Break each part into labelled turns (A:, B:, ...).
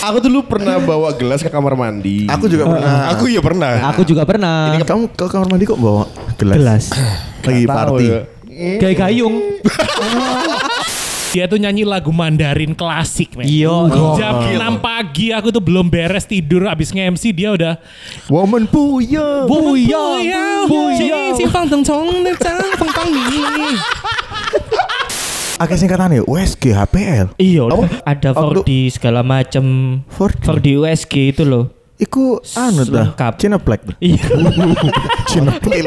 A: Aku dulu pernah bawa gelas ke kamar mandi.
B: Aku juga pernah.
A: Aku iya pernah.
C: Aku juga pernah.
B: Ini Ah, kamu ke kamar mandi kok bawa gelas?
C: Gelas.
A: iya,
B: Lagi party.
D: ya.
A: ya.
C: Kayak gayung.
E: Dia tuh nyanyi lagu Mandarin klasik, men.
C: Iya,
E: Jam 6 pagi aku tuh belum beres tidur abis nge-MC dia udah
B: Woman puya. Akeh singkatannya USG HPL.
D: Iya,
B: Apa?
D: ada
B: Aku-
D: 4D segala macem
B: 4D?
D: 4D USG itu loh.
B: Iku anu
D: Lengkap.
B: ta. Cineplek.
D: Iya,
B: Cineplek.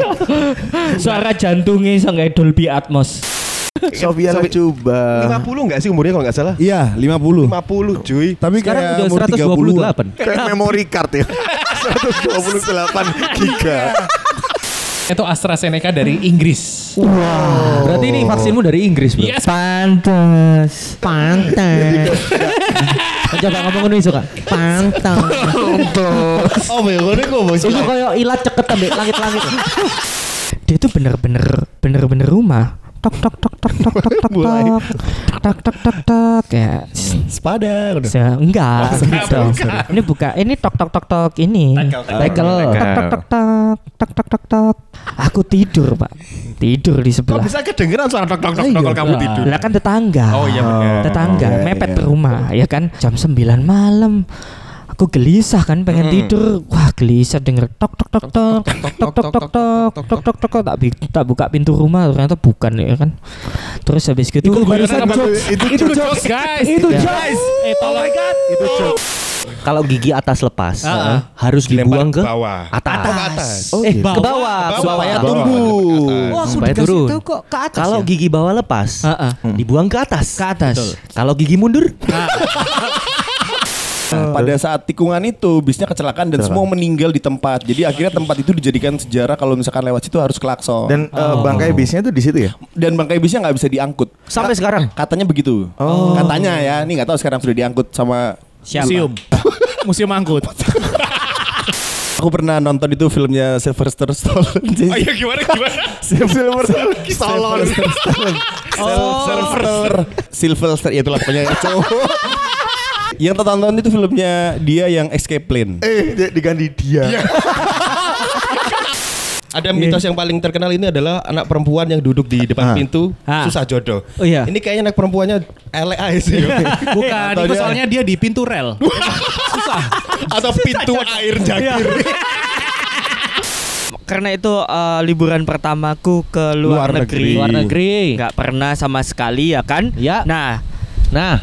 D: suara jantungnya sanggah Dolby Atmos.
B: Sofia
F: Sofi-
B: coba.
F: 50 enggak sih umurnya kalau enggak salah?
A: Iya, 50.
F: 50 cuy.
A: Tapi
C: Sekarang
A: kayak
C: udah
A: umur 30-an.
C: 128.
B: Kayak memory card ya. 128 giga.
E: itu AstraZeneca dari Inggris.
C: Berarti ini vaksinmu dari Inggris, Bro.
E: Yes.
C: Pantes. Pantes. Coba ngomong ngono iso, Kak. Pantes.
A: Oh, my God, ini kok bos.
C: Itu kayak ilat ceket ambek langit-langit.
D: Dia tuh bener-bener bener-bener rumah. Tok tok tok tok tok tok tok
A: Mulai.
D: tok tok tok tok tok ya
A: Sepada. udah.
D: se- enggak gitu. ini buka ini tok tok tok tok ini
C: Tekel.
G: Iya,
D: tok tok tok tok tok tok tok tok aku tidur pak tidur di
A: Kok
D: sebelah
A: bisa kedengeran suara tok tok tok tok kalau kamu tidur?
D: Lah kan tetangga.
A: Oh, iya benar.
D: Tetangga
B: Oh, iya,
D: mepet
B: iya.
D: rumah ya kan jam 9 malam. Aku gelisah kan pengen tidur. Wah, gelisah denger tok tok tok tok tok tok tok tok tok tok tok tak bi- tak buka pintu rumah ternyata bukan ya kan. Terus habis gitu
E: Barusan jokes.
B: Itu
E: Itu jokes, guys.
D: Itu jokes.
E: guys. Eh,
D: Oh
E: tolong.
D: my god.
G: Kalau gigi atas lepas ya,
E: Ah, ah.
G: harus dibuang ke
A: bawah.
G: atas. Iya.
D: Eh,
G: Ke bawah, supaya
A: bawah.
D: Oh, aku
G: Supaya
D: dikasih
G: turun.
D: tahu kok ke atas.
G: Kalau
D: ya?
G: gigi bawah lepas,
D: Ah, ah.
G: dibuang ke atas.
D: ke atas.
G: Kalau gigi mundur,
A: Pada saat tikungan itu bisnya kecelakaan dan semua meninggal di tempat. Jadi akhirnya tempat itu dijadikan sejarah kalau misalkan lewat situ harus klakson. Dan
B: Dan eh,
D: Oh.
B: bangkai bisnya tuh di situ ya?
A: dan bangkai bisnya nggak bisa diangkut.
G: sampai sekarang
A: Katanya begitu. Katanya ya, ini nggak tahu sekarang sudah diangkut sama
E: Museum. Museum angkut.
A: Aku pernah nonton itu filmnya Sylvester Stallone.
E: Oh iya gimana gimana?
A: Sylvester Stallone.
F: Oh.
A: Sylvester. Sylvester ya itulah pokoknya cowok. Yang tonton itu filmnya dia yang escape plan.
B: Eh, dia- diganti dia.
F: Ada mitos yang paling terkenal ini adalah anak perempuan yang duduk di depan
B: Ah.
F: pintu
D: Ah.
F: susah jodoh.
D: Oh, iya.
F: Ini kayaknya anak perempuannya elek aja sih.
E: Bukan, itu soalnya dia di pintu rel.
F: Atau pintu air jagir.
D: Iya, Karena itu eh, liburan pertamaku ke
A: Luar
D: luar, negeri.
A: negeri.
D: Luar
C: Luar
D: negeri.
C: negeri.
D: Nggak pernah sama sekali ya kan?
C: Ya.
D: Nah,
C: Nah,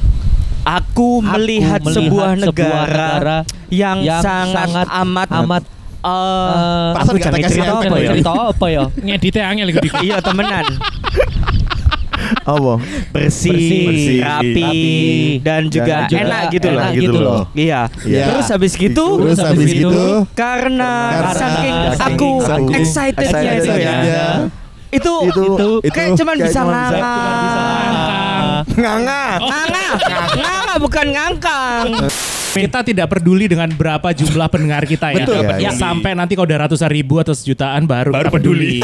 D: Aku, melihat,
C: melihat
D: sebuah,
C: sebuah
D: negara
C: negara
D: yang,
C: yang
D: sangat,
C: sangat
D: amat
C: amat,
D: eh,
A: perasaan nggak
D: aku jangan
A: tak kasih
D: cerita
A: apa
D: apa
A: ya?
D: ya? Cerita apa ya?
E: Ngeditnya angel gitu.
D: iya temenan
B: Apa?
D: bersih,
C: Bersih,
D: rapi,
C: rapi,
D: dan juga
B: dan juga
D: enak gitu
C: enak
D: loh
C: gitu loh.
D: iya
B: Iya.
D: terus habis gitu
B: Terus habis gitu,
D: karena,
B: karena
D: saking
B: saking
D: aku
B: saking
A: Iya,
D: excitednya itu ya
B: excitednya.
D: itu itu,
B: Itu- itu
D: kayak cuman
B: kayak
D: bisa
B: cuman bisa-
D: nganga
B: Nganga.
D: nganga nganga bukan ngangkang
E: Kita tidak peduli dengan berapa jumlah pendengar kita ya.
B: Betul. Iya,
E: Ya, sampai nanti kalau udah ratusan ribu atau sejutaan baru, baru peduli.